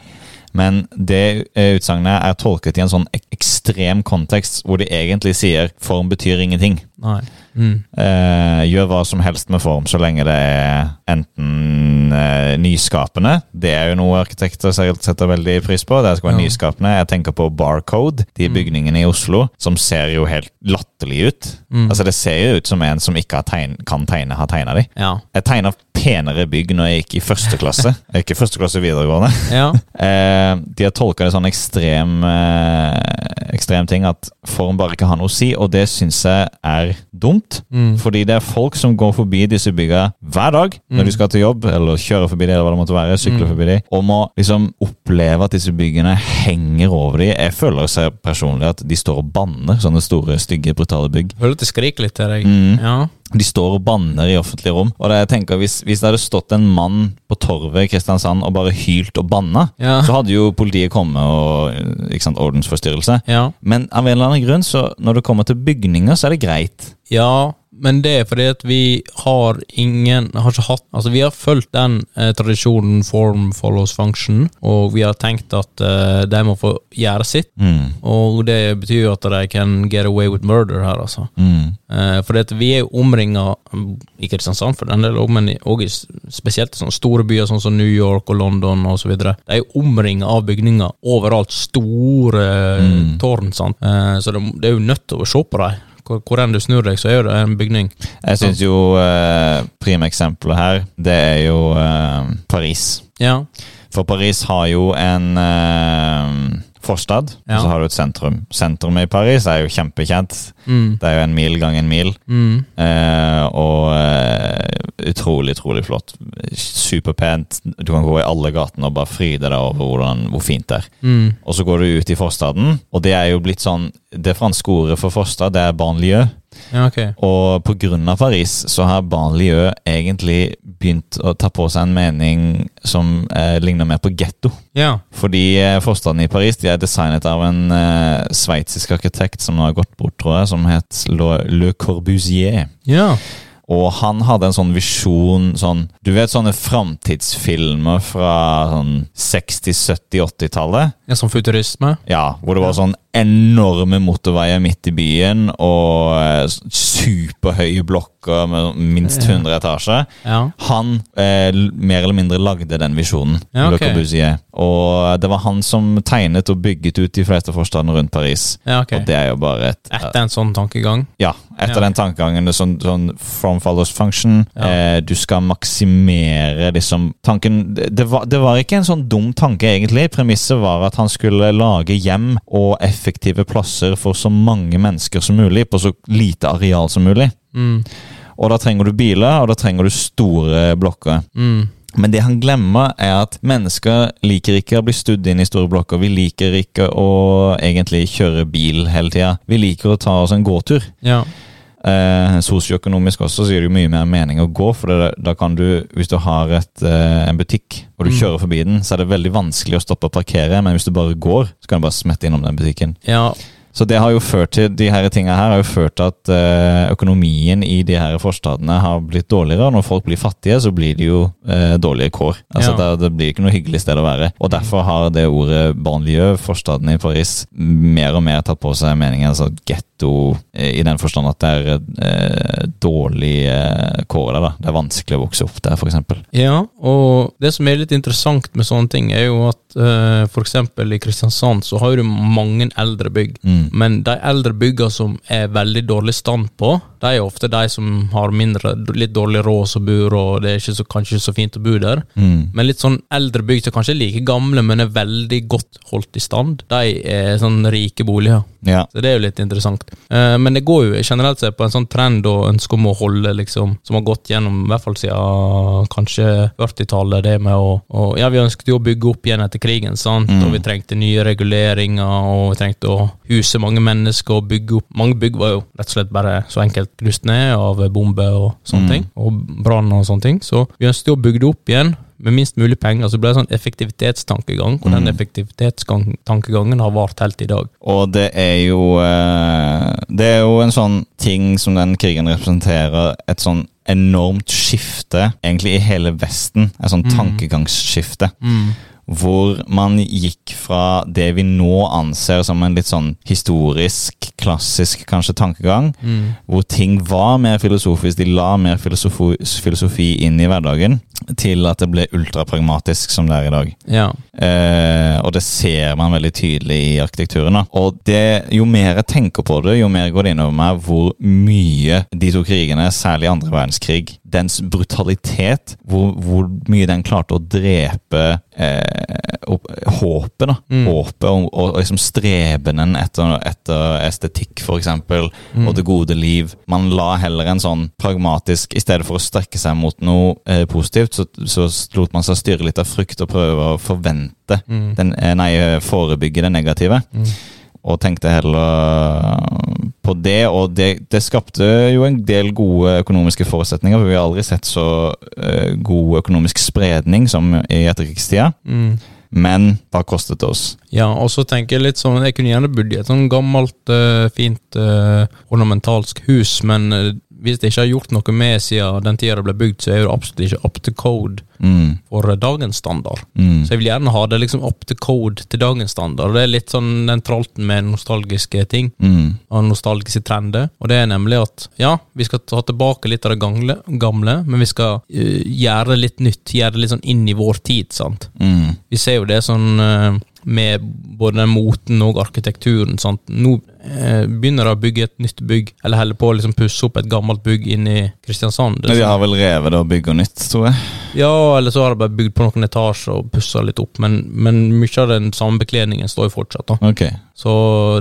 Men det eh, utsagnet er tolket i en sånn ek- ekstrem kontekst, hvor de egentlig sier form betyr ingenting. Nei. Mm. Eh, gjør hva som helst med form, så lenge det er enten eh, nyskapende Det er jo noe arkitekter selv setter veldig pris på. Det skal være Ja. nyskapende. Jeg tenker på Barcode, de bygningene i Oslo som ser jo helt latterlige ut. Mm. Altså Det ser jo ut som en som ikke har tegn, kan tegne, har tegna de. Ja. Jeg tegna penere bygg når jeg gikk i første klasse. Jeg gikk i første klasse videregående. ja. Eh, de har tolka det sånn ekstrem, eh, ekstrem ting at form bare ikke har noe å si, og det syns jeg er dumt. Mm. Fordi det er folk som går forbi disse bygga hver dag når Mm. de skal til jobb, eller kjører forbi de, eller hva det måtte være, sykler Mm. forbi de, og må liksom oppleve at disse byggene henger over de. Jeg føler seg personlig at de står og banner, sånne store, stygge, brutale bygg. Føler at det skriker litt til deg. Mm. Ja. De står og banner i offentlige rom. Og det jeg tenker, hvis, hvis det hadde stått en mann på torvet i Kristiansand og bare hylt og banna, Ja. så hadde jo politiet kommet og ikke sant, ordensforstyrrelse. ja. Men av en eller annen grunn, så når det kommer til bygninger, så er det greit. Ja, men det er fordi at vi har ingen har ikke hatt, altså Vi har fulgt den eh, tradisjonen form follows function, og vi har tenkt at eh, de må få gjøre sitt. Mm. Og det betyr jo at de kan get away with murder her, altså. Mm. Eh, fordi at vi er jo omringa i Kristiansand, for den del, også, men i- og i s- spesielt i sånne store byer sånn som New York og London osv. De er jo omringa av bygninger overalt. Store eh, Mm. tårn. sant? Eh, så det, det er jo nødt til å se på dem. Hvor, hvor enn du snur deg, så er det en bygning. Jeg syns jo eh, primeksempelet her, det er jo eh, Paris. Ja. For Paris har jo en eh, forstad, Ja. og så har du et sentrum. Sentrum i Paris er jo kjempekjent. Mm. Det er jo en mil gang en mil. Mm. Eh, og eh, utrolig, utrolig flott. Superpent. Du kan gå i alle gatene og bare fryde deg over hvordan, hvor fint det er. Mm. Og så går du ut i forstaden, og det er jo blitt sånn Det franske ordet for forstad, det er banlieue. Ja, ok. Og på grunn av Paris så har banlieue egentlig begynt å ta på seg en mening som eh, ligner mer på getto. Ja. Fordi eh, forstaden i Paris de er designet av en eh, sveitsisk arkitekt som nå har gått bort, tror jeg, som het Le, Le Corbusier. Ja. Og han hadde en sånn visjon sånn, Du vet sånne framtidsfilmer fra sånn 60-, 70-, 80-tallet? ja som futurisme. Ja, hvor det var sånn enorme motorveier midt i byen og eh, s- superhøye blokker med minst 100 etasjer. Ja. Han eh, l- mer eller mindre lagde den visjonen. Ja, ok. Le Corbusier. Og eh, det var han som tegnet og bygget ut de fleste forstandene rundt Paris. Ja, ok. Og det er jo bare et Etter en sånn tankegang. ja, etter Ja. den tankegangen det er sånn, sånn From follows function. Ja. Eh, du skal maksimere liksom tanken det, det, var, det var ikke en sånn dum tanke, egentlig. Premisset var at han skulle lage hjem og effektive plasser for så mange mennesker som mulig på så lite areal som mulig. Mm. Og da trenger du biler, og da trenger du store blokker. Mm. Men det han glemmer, er at mennesker liker ikke å bli studd inn i store blokker. Vi liker ikke å egentlig kjøre bil hele tida. Vi liker å ta oss en gåtur. Ja. Eh, sosioøkonomisk også så gir det jo mye mer mening å gå, for det, da kan du, hvis du har et, eh, en butikk og du Mm. kjører forbi den, så er det veldig vanskelig å stoppe og parkere, men hvis du bare går, så kan du bare smette innom den butikken. Ja. Så det har jo ført til, de her tinga her har jo ført til at eh, økonomien i de her forstadene har blitt dårligere, og når folk blir fattige, så blir de jo eh, dårlige kår. Altså Ja. det, det blir ikke noe hyggelig sted å være. Og derfor har det ordet banlieue, forstadene i Paris, mer og mer tatt på seg meningen altså getto, eh, i den forstand at det er eh, dårlige eh, kår der, da. Det er vanskelig å vokse opp der, for eksempel. Ja, og det som er litt interessant med sånne ting, er jo at eh, for eksempel i Kristiansand så har du mange eldre bygg. Mm. Men de eldre bygga som er veldig dårlig stand på, de er ofte de som har mindre, litt dårlig råd som bor, og det er ikke så, kanskje ikke så fint å bo der. Mm. Men litt sånn eldre bygg som kanskje er like gamle, men er veldig godt holdt i stand, de er sånn rike boliger. Ja. Så det er jo litt interessant. Eh, men det går jo generelt sett på en sånn trend og ønske om å holde, liksom, som har gått gjennom i hvert fall siden kanskje 40-tallet, det med å, å Ja, vi ønsket jo å bygge opp igjen etter krigen, sant? Mm. og vi trengte nye reguleringer, og vi trengte å huse mange mennesker og bygge opp Mange bygg var jo rett og slett bare så enkelt knust ned av bomber og sånne Mm. ting, og brann og sånne ting, så vi ønsket jo å bygge det opp igjen. Med minst mulig penger, så det ble det sånn effektivitetstankegang, og den Mm. effektivitetstankegangen har vart helt i dag. Og det er jo eh, Det er jo en sånn ting som den krigen representerer. Et sånn enormt skifte, egentlig i hele Vesten. Et sånn tankegangsskifte. Hvor man gikk fra det vi nå anser som en litt sånn historisk, klassisk kanskje tankegang, hvor ting var mer filosofisk, de la mer filosofo filosofi inn i hverdagen, til at det ble ultrapragmatisk som det er i dag. Ja. Eh, og det ser man veldig tydelig i arkitekturen. da. Og det, jo mer jeg tenker på det, jo mer går det innover meg hvor mye de to krigene, særlig andre verdenskrig, dens brutalitet, hvor, hvor mye den klarte å drepe eh, opp, håpet. da. Mm. Håpet og, og, og liksom strebenen etter, etter estetikk, for eksempel, og det gode liv. Man la heller en sånn pragmatisk I stedet for å strekke seg mot noe eh, positivt, så, så lot man seg styre litt av frykt og prøve å forvente Mm. den, eh, Nei, eh, forebygge det negative. Mm. Og tenkte heller eh, på det, og det, det skapte jo en del gode økonomiske forutsetninger. For vi har aldri sett så eh, god økonomisk spredning som i etterkrigstida. Mm. Men hva kostet det oss? Ja, og så tenker jeg litt sånn Jeg kunne gjerne bodd i et sånn gammelt, eh, fint eh, ornamentalsk hus, men eh, hvis det ikke har gjort noe med siden den tida det ble bygd, så er det absolutt ikke up to code Mm, for eh, dagens standard. mm, Så jeg vil gjerne ha det liksom up to code til dagens standard. Det er litt sånn den tralten med nostalgiske ting mm, og nostalgiske trender, og det er nemlig at ja, vi skal ta tilbake litt av det gamle, gamle men vi skal eh, gjøre det litt nytt, gjøre det litt sånn inn i vår tid, sant. mm, Vi ser jo det sånn eh, med både den moten og arkitekturen. Sant? Nå eh, begynner de å bygge et nytt bygg, eller holder på å liksom pusse opp et gammelt bygg inne i Kristiansand. liksom. Men De har vel revet det og bygger nytt, tror jeg. Ja, eller så har de bare bygd på noen etasjer og pussa litt opp, men, men mye av den samme bekledningen står jo fortsatt. da. Ok. Så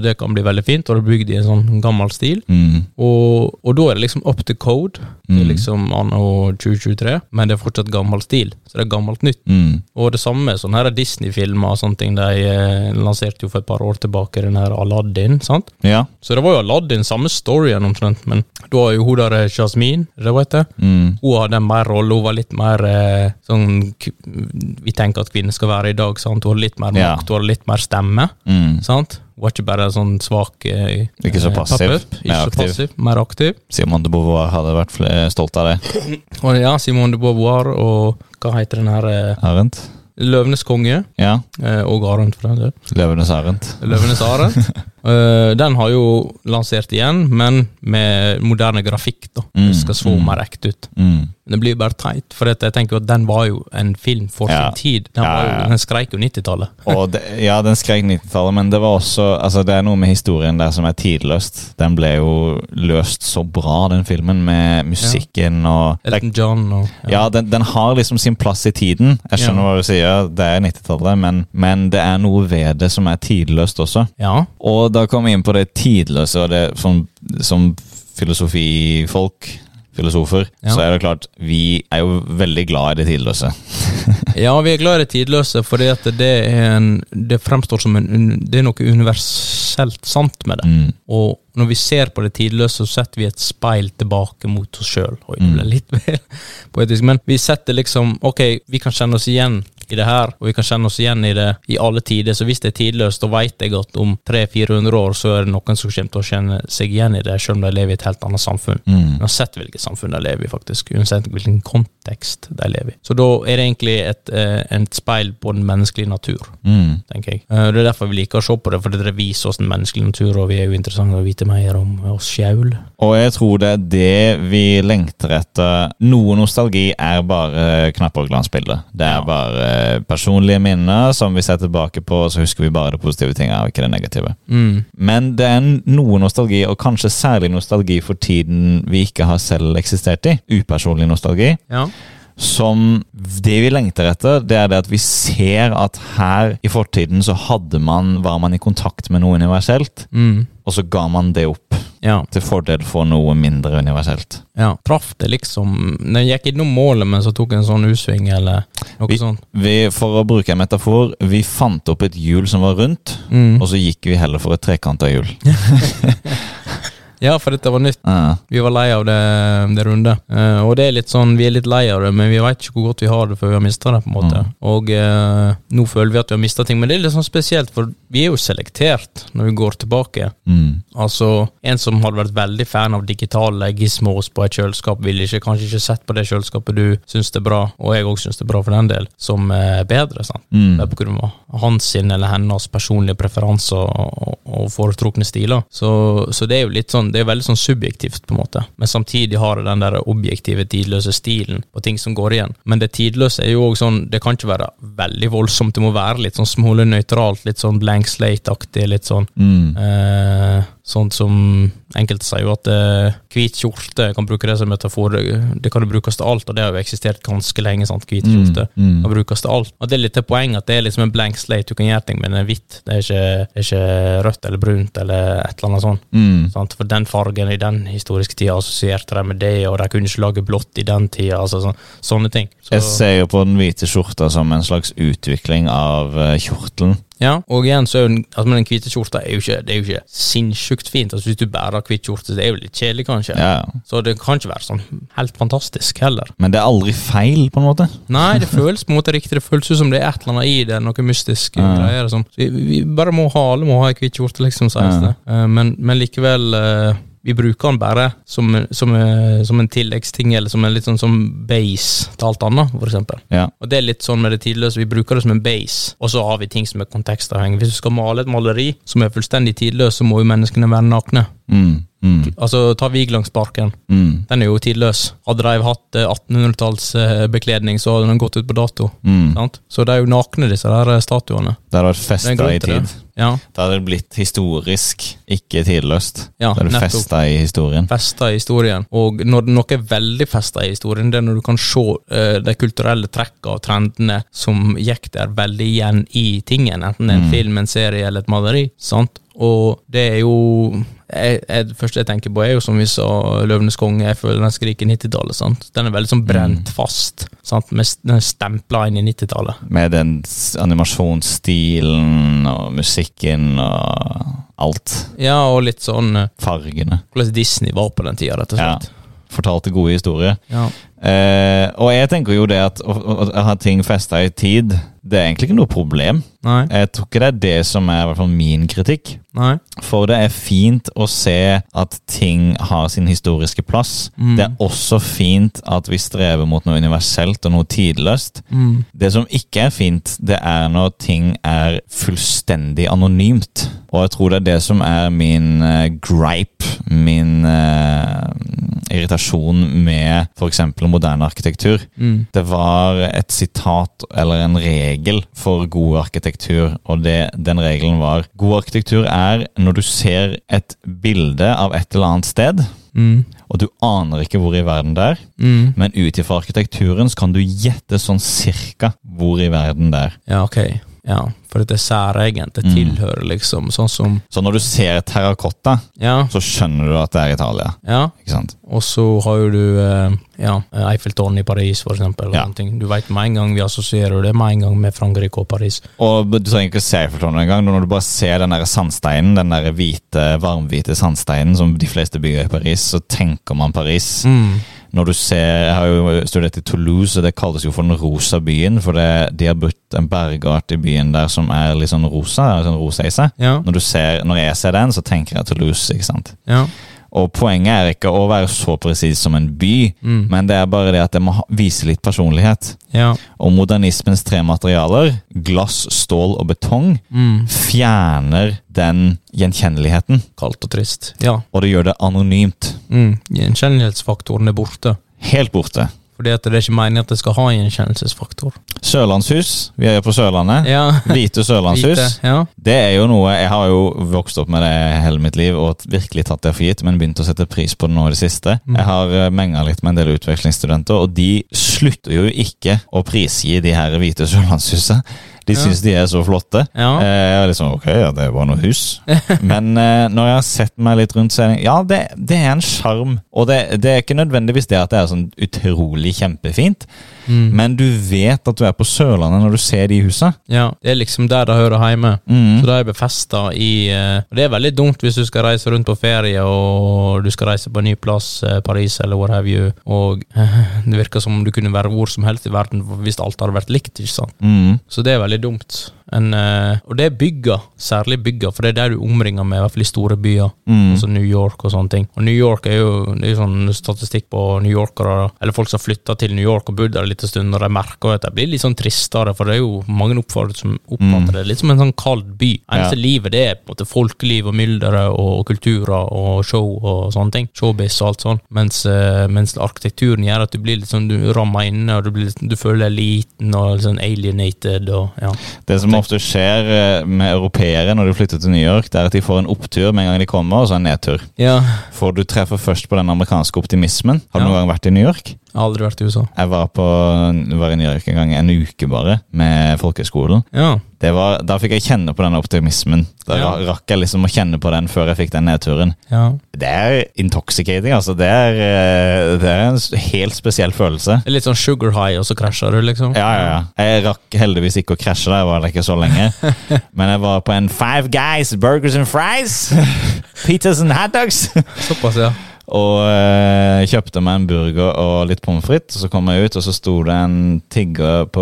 det kan bli veldig fint, og det er bygd i en sånn gammel stil. Mm, Og, og da er det liksom up to code. Det Mm. er liksom anno 2023, men det er fortsatt gammel stil. Så det er gammelt nytt. mm, Og det samme med sånne her Disney-filmer og sånne ting. De eh, lanserte jo for et par år tilbake den her Aladdin, sant? ja. Så det var jo Aladdin, samme storyen omtrent, men da var jo hun der eh, Jasmine, er det hun heter. Mm, Hun hadde en mer rolle, hun var litt mer eh, sånn k- Vi tenker at kvinner skal være i dag, sant? Hun hadde litt mer Ja. makt, hun hadde litt mer stemme, mm. sant? Hun var ikke bare en sånn svak eh, Ikke så eh, passiv, pop-up. Ikke mer så aktiv. passiv, mer aktiv. Simon de Beauvoir hadde vært fl- eh, stolt av det. Og ja, Simone de Beauvoir og hva heter den her eh, Arendt? Løvenes konge, Ja. eh, og Arendt, for den del. Løvenes Arendt. Løvenes Arendt. Eh, den har jo lansert igjen, men med moderne grafikk. da. Mm, Det skal så mm. mer ekte ut. Mm, Men det blir jo bare teit, for at jeg tenker jo at den var jo en film for Ja. sin tid. Den, var Ja, jo, ja. den skreik jo 90-tallet. Og det, ja, den skrek 90-tallet, men det var også altså Det er noe med historien der som er tidløst. Den ble jo løst så bra, den filmen, med musikken og det er Elton John og Ja, den, den har liksom sin plass i tiden. Jeg skjønner Ja. hva du sier, det er 90-tallet, men, men det er noe ved det som er tidløst også. Ja. Og da kom vi inn på det tidløse, og det som, som filosofifolk, filosofer, Ja. så er det klart, vi er jo veldig glad i det tidløse. ja, vi er glad i det tidløse, fordi at det, er en, det fremstår som en, un- det er noe universelt sant med det. Mm. Og når vi ser på det tidløse, så setter vi et speil tilbake mot oss sjøl. Oi, det ble litt mer poetisk, men vi setter liksom Ok, vi kan kjenne oss igjen i det her, og vi kan kjenne oss igjen i det i alle tider, så hvis det er tidløst, da veit jeg at om 300-400 år så er det noen som kommer til å kjenne seg igjen i det, sjøl om de lever i et helt annet samfunn. Mm. Uansett hvilket samfunn de lever i, faktisk. Uansett hvilken kontekst de lever i. Så da er det egentlig et, eh, et speil på den menneskelige natur Mm. tenker jeg. Eh, Det er derfor vi liker å se på det, for det viser oss den menneskelige natur, og vi er jo interessante å vite mer om oss sjøl. Og jeg tror det er det vi lengter etter. Noe nostalgi er bare knapper og glansbilder. Det er Ja. bare personlige minner som vi ser tilbake på, og så husker vi bare det positive tinget og ikke det negative. Mm. Men det er noe nostalgi, og kanskje særlig nostalgi for tiden vi ikke har selv eksistert i. Upersonlig nostalgi. Ja. Som Det vi lengter etter, det er det at vi ser at her i fortiden så hadde man, var man i kontakt med noe universelt, Mm. og så ga man det opp. Ja, til fordel for noe mindre universelt. ja. Traff det liksom Den gikk innom målet, men så tok en sånn U-sving, eller noe Vi- sånt. Vi, for å bruke en metafor, vi fant opp et hjul som var rundt, Mm. og så gikk vi heller for et trekanta hjul. Ja, for dette var nytt. Ja. Vi var lei av det, det runde. Eh, og det er litt sånn, vi er litt lei av det, men vi veit ikke hvor godt vi har det før vi har mista det. på en måte. Og eh, nå føler vi at vi har mista ting, men det er litt sånn spesielt, for vi er jo selektert når vi går tilbake. Mm. Altså, En som hadde vært veldig fan av digitale gizmos på et kjøleskap, ville ikke, kanskje ikke sett på det kjøleskapet du syns det er bra, og jeg òg syns det er bra for den del, som er bedre. sant? Mm. Det er på grunn av hans sin eller hennes personlige preferanser og, og foretrukne stiler. Så, så det er jo litt sånn, det er veldig sånn subjektivt, på en måte. Men samtidig har det den der objektive, tidløse stilen på ting som går igjen. Men det tidløse er jo òg sånn, det kan ikke være veldig voldsomt, det må være litt sånn smålig nøytralt, litt sånn blank slate-aktig, litt sånn Mm. Eh, sånn som enkelte sier jo at eh, hvit kjorte kan bruke det som metafor. Det kan jo brukes til alt, og det har jo eksistert ganske lenge. sant, Hvit Mm, kjorte mm. kan brukes til alt. Og Det er litt det poenget at det er liksom en blank slate. Du kan gjøre ting, men den er hvitt. Det er ikke, det er ikke rødt eller brunt eller et eller annet sånt. Mm. Sant? For den fargen i den historiske tida assosierte de med det, og de kunne ikke lage blått i den tida. altså sånn, Sånne ting. Så- Jeg ser jo på den hvite skjorta som en slags utvikling av eh, kjortelen. Ja, og igjen så er jo den, altså, men den hvite skjorta er jo ikke, det er jo ikke sinnssykt fint. Altså, hvis du bærer hvit skjorte, så det er jo litt kjedelig, kanskje. Ja. ja. Så det kan ikke være sånn helt fantastisk heller. Men det er aldri feil, på en måte. Nei, det føles på en måte riktig. Det føles ut som det er et eller annet i det, noe mystisk. Ja. greier og sånn. Så vi, vi bare må ha alle må ha ei hvit skjorte, liksom, sies Ja. det. Eh, Men, men likevel eh, vi bruker den bare som, som, eh, som en tilleggsting, eller som en litt sånn som base til alt annet, for eksempel. Ja. Og det er litt sånn med det tidløse, vi bruker det som en base, og så har vi ting som er kontekstavhengig. Hvis du skal male et maleri som er fullstendig tidløst, så må jo menneskene være nakne. Mm. Mm. Altså, ta Vigelandsparken. Mm. Den er jo tidløs. Hadde de hatt eh, 1800-tallsbekledning, så hadde den gått ut på dato. Mm. Sant? Så de er jo nakne, disse der eh, statuene. Det hadde vært Det er en festa grunn i til tid. det. Ja, Det hadde blitt historisk, ikke tidløst. Ja, det hadde nettopp. festa i historien. festa i historien. Og når noe er veldig festa i historien, det er når du kan se eh, de kulturelle trekka og trendene som gikk der veldig igjen i tingen, enten det er en film, en serie eller et maleri. sant? Og det er jo jeg, jeg, Det første jeg tenker på, er jo som vi sa, 'Løvenes konge'. Jeg føler den skriker 90-tallet. sant? Den er veldig sånn brent fast. sant? Med, s- den er stempla inn i 90-tallet. Med den s- animasjonsstilen og musikken og alt. Ja, og litt sånn eh, Fargene. hvordan Disney var på den tida, rett og Ja. slett. Fortalte gode historier. Ja. Eh, og jeg tenker jo det at å, å, å ha ting festa i tid, det er egentlig ikke noe problem. Nei. Jeg tror ikke det er det som er i hvert fall min kritikk. Nei. For det er fint å se at ting har sin historiske plass. Det er også fint at vi strever mot noe universelt og noe tidløst. Mm, Det som ikke er fint, det er når ting er fullstendig anonymt. Og jeg tror det er det som er min eh, gripe, min eh, irritasjon med f.eks. moderne arkitektur. mm, Det var et sitat eller en regel for god arkitektur, og det, den regelen var God arkitektur er når du ser et bilde av et eller annet sted, mm, og du aner ikke hvor i verden det er, men ut ifra arkitekturen så kan du gjette sånn cirka hvor i verden det er. Ja, ok. Ja, for det er særegent. Mm. Det tilhører liksom sånn som Så når du ser terrakotta, Ja. så skjønner du at det er Italia. ja. Ikke sant? Og så har jo du eh, ja, Eiffeltårnet i Paris, for eksempel. og Ja. sånne ting. Du veit med en gang vi assosierer det med en gang med Frankrike og Paris. Og du trenger ikke se Eiffeltårnet engang. Når du bare ser den der sandsteinen, den der hvite, varmhvite sandsteinen som de fleste bygger i Paris, så tenker man Paris. Mm. Når du ser, Jeg har jo studert i Toulouse, og det kalles jo for den rosa byen. For det, de har brukt en bergart i byen der som er litt sånn rosa. Sånn rosa i seg. Ja. Når, du ser, når jeg ser den, så tenker jeg Toulouse. ikke sant? Ja. Og poenget er ikke å være så presis som en by, men det er bare det at det må ha- vise litt personlighet. Ja. Og modernismens tre materialer, glass, stål og betong, Mm. fjerner den gjenkjenneligheten. Kaldt og trist. Ja. Og det gjør det anonymt. Mm. Gjenkjennelsesfaktoren er borte. Helt borte. Fordi at det er ikke meningen at det skal ha en gjenkjennelsesfaktor. Sørlandshus. Vi er jo på Sørlandet. Ja. Hvite sørlandshus. Hvite, Ja. Det er jo noe Jeg har jo vokst opp med det hele mitt liv og virkelig tatt det for gitt, men begynt å sette pris på det nå i det siste. Mm. Jeg har menga litt med en del utvekslingsstudenter, og de slutter jo ikke å prisgi de her hvite sørlandshusa. De Ja. syns de er så flotte. Ja. Eh, jeg er litt sånn, ok, ja, det er bare noe hus. Men eh, når jeg har sett meg litt rundt, så er det ja, det, det er en sjarm. Og det, det er ikke nødvendigvis det at det er sånn utrolig kjempefint, Mm. men du vet at du er på Sørlandet når du ser de husa. Ja, Det er liksom der det hører hjemme. Så det er befesta i eh, og Det er veldig dumt hvis du skal reise rundt på ferie og du skal reise på en ny plass, eh, Paris eller what have you, og eh, det virker som om du kunne være hvor som helst i verden hvis alt hadde vært likt. ikke sant? Mm. Så det er veldig dumt. En, eh, og det er bygga, særlig bygga, for det er der du omringer med, i hvert fall i store byer. Mm. Altså New York og sånne ting. Og New York er jo det er jo sånn statistikk på New Yorkere, eller folk som flytter til New York og bodd der en liten stund, og de merker jo at de blir litt sånn tristere, for det er jo mange oppfatter som oppfatter det litt som en sånn kald by. Mm. Eneste Ja. livet det er på en måte folkeliv og myldere og kulturer og show og sånne ting. Showbiz og alt sånn. Mens, eh, mens arkitekturen gjør at du blir litt sånn du rammer inne, og du, blir, litt- du føler deg liten og litt sånn alienated og ja. Det som ofte skjer eh, med europeere når de flytter til New York, det er at de får en opptur med en gang de kommer, og så en nedtur. Ja. For du treffer først på den amerikanske optimismen. Har du Ja. noen gang vært i New York? Jeg har aldri vært i USA. Jeg var, på, var i New York en gang, en uke bare, med folkeskolen. Ja. Det var, da fikk jeg kjenne på den optimismen. Da Ja. ra- rakk jeg liksom å kjenne på den før jeg fikk den nedturen. ja. Det er intoxicating, altså. Det er, eh, det er en s- helt spesiell følelse. Det er litt sånn sugar high, og så krasjer du, liksom. Ja, ja, ja. Jeg rakk heldigvis ikke å krasje der, jeg var der ikke så lenge. Men jeg var på en Five Guys Burgers and Fries, Pizzas and Hot Dogs. Såpass, ja. Og eh, kjøpte meg en burger og litt pommes frites. Så kom jeg ut, og så sto det en tigger på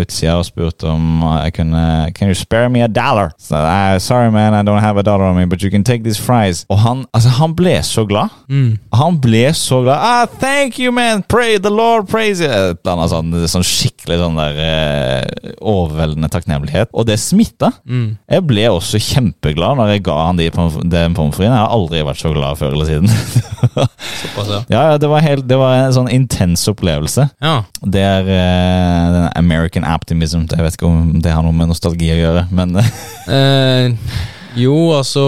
utsida og spurte om jeg kunne Can you spare me a dollar? Så jeg, "Eh, Sorry, man, I don't have a dollar on me, but you can take these fries. Og han, altså, han ble så glad. Han ble så glad. Ah, thank you, man! Pray the Lord, praise you! Et eller annet sånn, sånn skikkelig sånn der eh, overveldende takknemlighet. Og det smitta. Jeg ble også kjempeglad når jeg ga han de pommes den pommes fritesen. Jeg har aldri vært så glad før eller siden. Såpass, ja. Ja, ja det, var helt, det var en sånn intens opplevelse. Ja. Det er eh, den American optimism. Jeg vet ikke om det har noe med nostalgi å gjøre, men Eh, jo, altså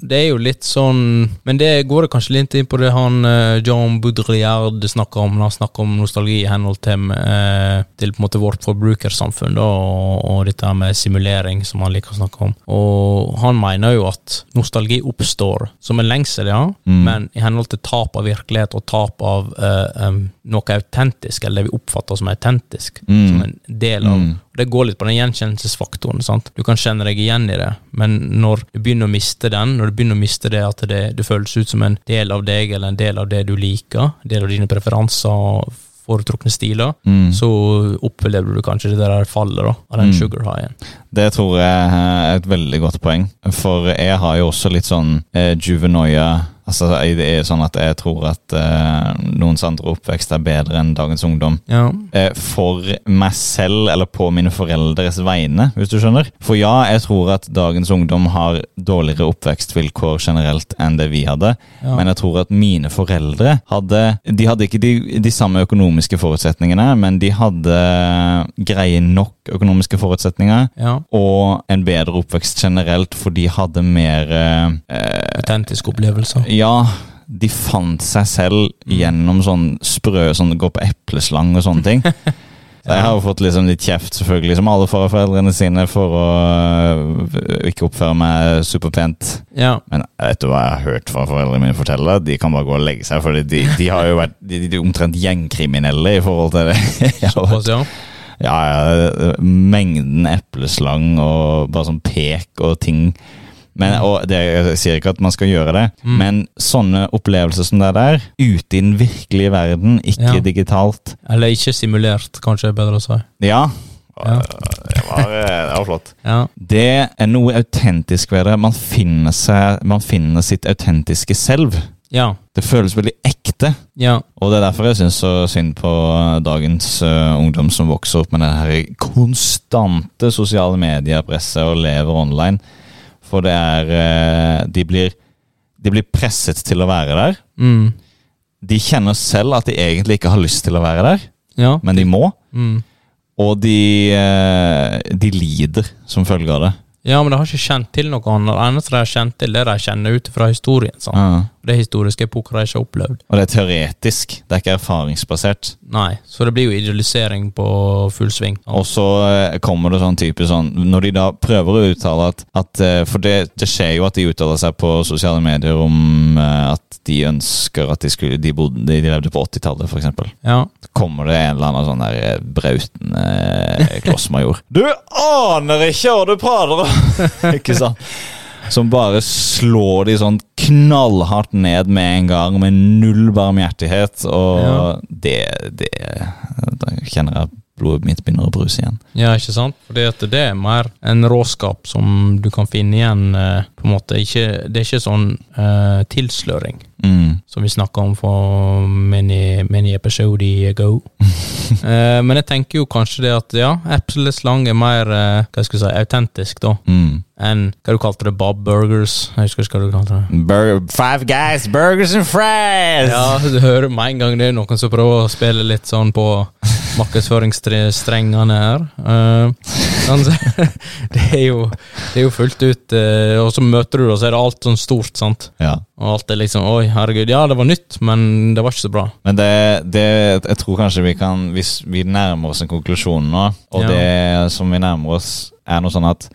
Det er jo litt sånn Men det går det kanskje litt inn på det han eh, John Boudrillard snakker om. når Han snakker om nostalgi i henhold til, eh, til på en måte vårt forbrukersamfunn da, og, og dette her med simulering, som han liker å snakke om. Og han mener jo at nostalgi oppstår som en lengsel, ja, men i henhold til tap av virkelighet og tap av eh, em, noe autentisk, eller det vi oppfatter som autentisk, Mm. som en del av og Det går litt på den gjenkjennelsesfaktoren. sant? Du kan kjenne deg igjen i det, men når du begynner å miste den, når du begynner å miste det at det, det føles ut som en del av deg, eller en del av det du liker, en del av dine preferanser og foretrukne stiler, Mm. så opplever du kanskje det der fallet da, av den sugar high-en. det tror jeg er et veldig godt poeng. For jeg har jo også litt sånn eh, juvenoia Altså, Det er sånn at jeg tror at eh, noens andre oppvekst er bedre enn dagens ungdom. Ja. eh, for meg selv eller på mine foreldres vegne, hvis du skjønner. For ja, jeg tror at dagens ungdom har dårligere oppvekstvilkår generelt enn det vi hadde, Ja. men jeg tror at mine foreldre hadde De hadde ikke de, de samme økonomiske forutsetningene, men de hadde greie nok økonomiske forutsetninger. ja. Og en bedre oppvekst generelt, for de hadde mer eh, eh, Autentiske opplevelser. ja, de fant seg selv gjennom sånn sprø sånn gå på epleslang og sånne ting. Så jeg har jo fått liksom litt kjeft, selvfølgelig, som alle får av foreldrene sine, for å øh, ikke oppføre meg superpent. Ja. Men vet du hva jeg har hørt fra foreldrene mine fortelle? De kan bare gå og legge seg, for de, de har jo vært de, de er omtrent gjengkriminelle i forhold til det. Jeg har Såpass, ja. ja, ja, mengden epleslang og bare sånn pek og ting. Men, Mm. og det, jeg sier ikke at man skal gjøre det, men sånne opplevelser som det er der, ute i den virkelige verden, ikke Ja. digitalt Eller ikke simulert, kanskje er bedre å si. Ja, Øh, Ja. det var, øh, det var flott. Ja. Det er noe autentisk ved det. Man finner, seg, man finner sitt autentiske selv. Ja. Det føles veldig ekte. ja. Og det er derfor jeg syns så synd på eh, dagens eh, ungdom som vokser opp med det her konstante sosiale medier-presset og lever online. For det er eh, de blir, de blir presset til å være der. Mm. De kjenner selv at de egentlig ikke har lyst til å være der, Ja. men de må. Mm. Og de, eh, de lider som følge av det. Ja, men de har ikke kjent til noe annet. Det eneste de har kjent til, det er de kjenner ut fra historien. Sant? Ja. Det er historiske epoker de ikke har opplevd. Og det er teoretisk, det er ikke erfaringsbasert. Nei, så det blir jo idealisering på full sving. Og så eh, kommer det sånn type sånn Når de da prøver å uttale at, at eh, For det, det skjer jo at de uttaler seg på sosiale medier om eh, at de ønsker at de, skulle, de, bodde, de levde på 80-tallet, f.eks. Ja. Kommer det en eller annen sånn der eh, brautende eh, klossmajor Du aner ikke hva du prater om! ikke sant? Som bare slår de sånn knallhardt ned med en gang, med null barmhjertighet. Og Ja. det, det Da kjenner jeg at blodet mitt begynner å bruse igjen. ja, ikke sant? Fordi at det er mer en råskap som du kan finne igjen, eh, på en måte. Ikke, det er ikke sånn eh, tilsløring Mm. som vi snakka om for many, many episode ago. eh, men jeg tenker jo kanskje det at ja, epleslang slang er mer eh, hva skal jeg si, autentisk, da. Mm. Enn hva du kalte det, Bob Burgers? Jeg husker ikke hva du kalte det. Bur five guys, burgers and fries! Ja, du hører med en gang det er noen som prøver å spille litt sånn på markedsføringsstrengene her. Eh, men så- det, er jo, det er jo fullt ut, eh, og så møter du det, og så er det alt sånn stort, sant. Ja. Og alt er liksom Oi, herregud, ja, det var nytt, men det var ikke så bra. Men det, det Jeg tror kanskje vi kan Hvis vi nærmer oss en konklusjon nå, og Ja. det som vi nærmer oss, er noe sånn at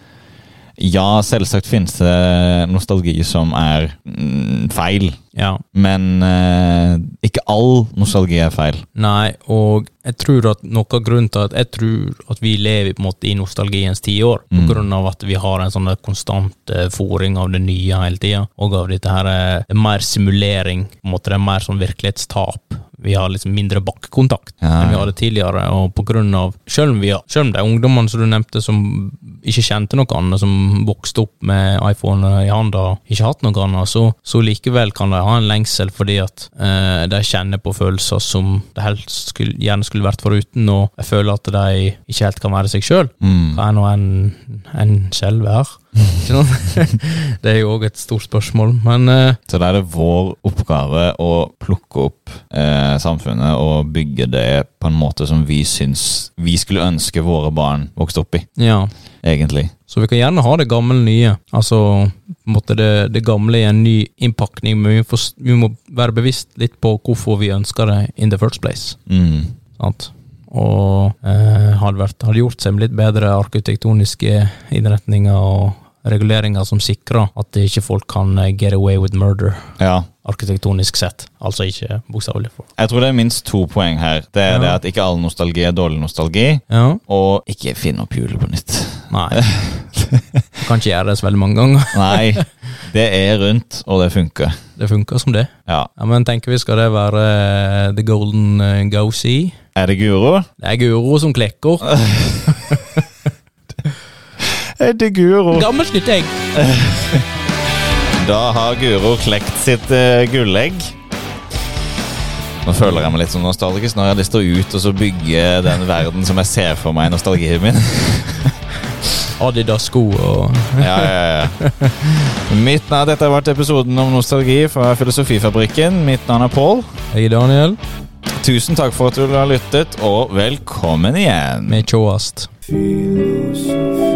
ja, selvsagt finnes det nostalgi som er mm, feil, Ja. men eh, ikke all nostalgi er feil. Nei, og jeg tror at noe av grunnen til at jeg tror at vi lever på en måte i nostalgiens tiår, på grunn av at vi har en sånn der konstant eh, fòring av det nye hele tida, og av dette her eh, det er mer simulering, på en måte det er mer sånn virkelighetstap. Vi har liksom mindre bakkekontakt Ja, enn vi ja. hadde tidligere, og på grunn av Selv om, vi har, selv om de ungdommene som du nevnte som ikke kjente noe annet, som vokste opp med iPhone i handa og ikke hatt noe annet, så, så likevel kan de ha en lengsel fordi at eh, de kjenner på følelser som de helst skulle, gjerne skulle vært foruten, og jeg føler at de ikke helt kan være seg sjøl. Mm. Hva er nå en, en selv er? Ikke sant? det er jo òg et stort spørsmål, men eh, Så da er det vår oppgave å plukke opp eh, samfunnet og bygge det på en måte som vi syns vi skulle ønske våre barn vokste opp i, ja. egentlig. Så vi kan gjerne ha det gamle nye. Altså på en måte det, det gamle i en ny innpakning, men vi, får, s- vi må være bevisst litt på hvorfor vi ønsker det in the first place. Mm. Sant? Og eh, hadde, vært, hadde gjort seg med litt bedre arkitektoniske innretninger og reguleringer som sikrer at det ikke folk kan eh, get away with murder, Ja. arkitektonisk arkitektonisk sett. Altså ikke bokstavelig. for- Jeg tror det er minst to poeng her. Det er Ja. det at ikke all nostalgi er dårlig nostalgi. Ja, Og ikke finn opp hjulet på nytt. nei. Du kan ikke gjøre det så veldig mange ganger. Nei, det er rundt, og det funker. Det funker som det. Ja. Ja, men tenker vi skal det være eh, the golden eh, go-see? Er det guro? Det er Guro som klekker. Er det guro? Gammelt nytt egg. Da har Guro klekt sitt eh, gullegg. Nå føler jeg meg litt som nostalgisk. Nå har jeg lyst til å ut og så bygge den verden som jeg ser for meg i nostalgien min. Adidas-sko og Ja, ja, ja. Mitt navn, dette har vært episoden om nostalgi fra Filosofifabrikken. Mitt navn er Pål. Hei, Daniel. Tusen takk for at du har lyttet, og velkommen igjen. Med tjåast. Philosophy.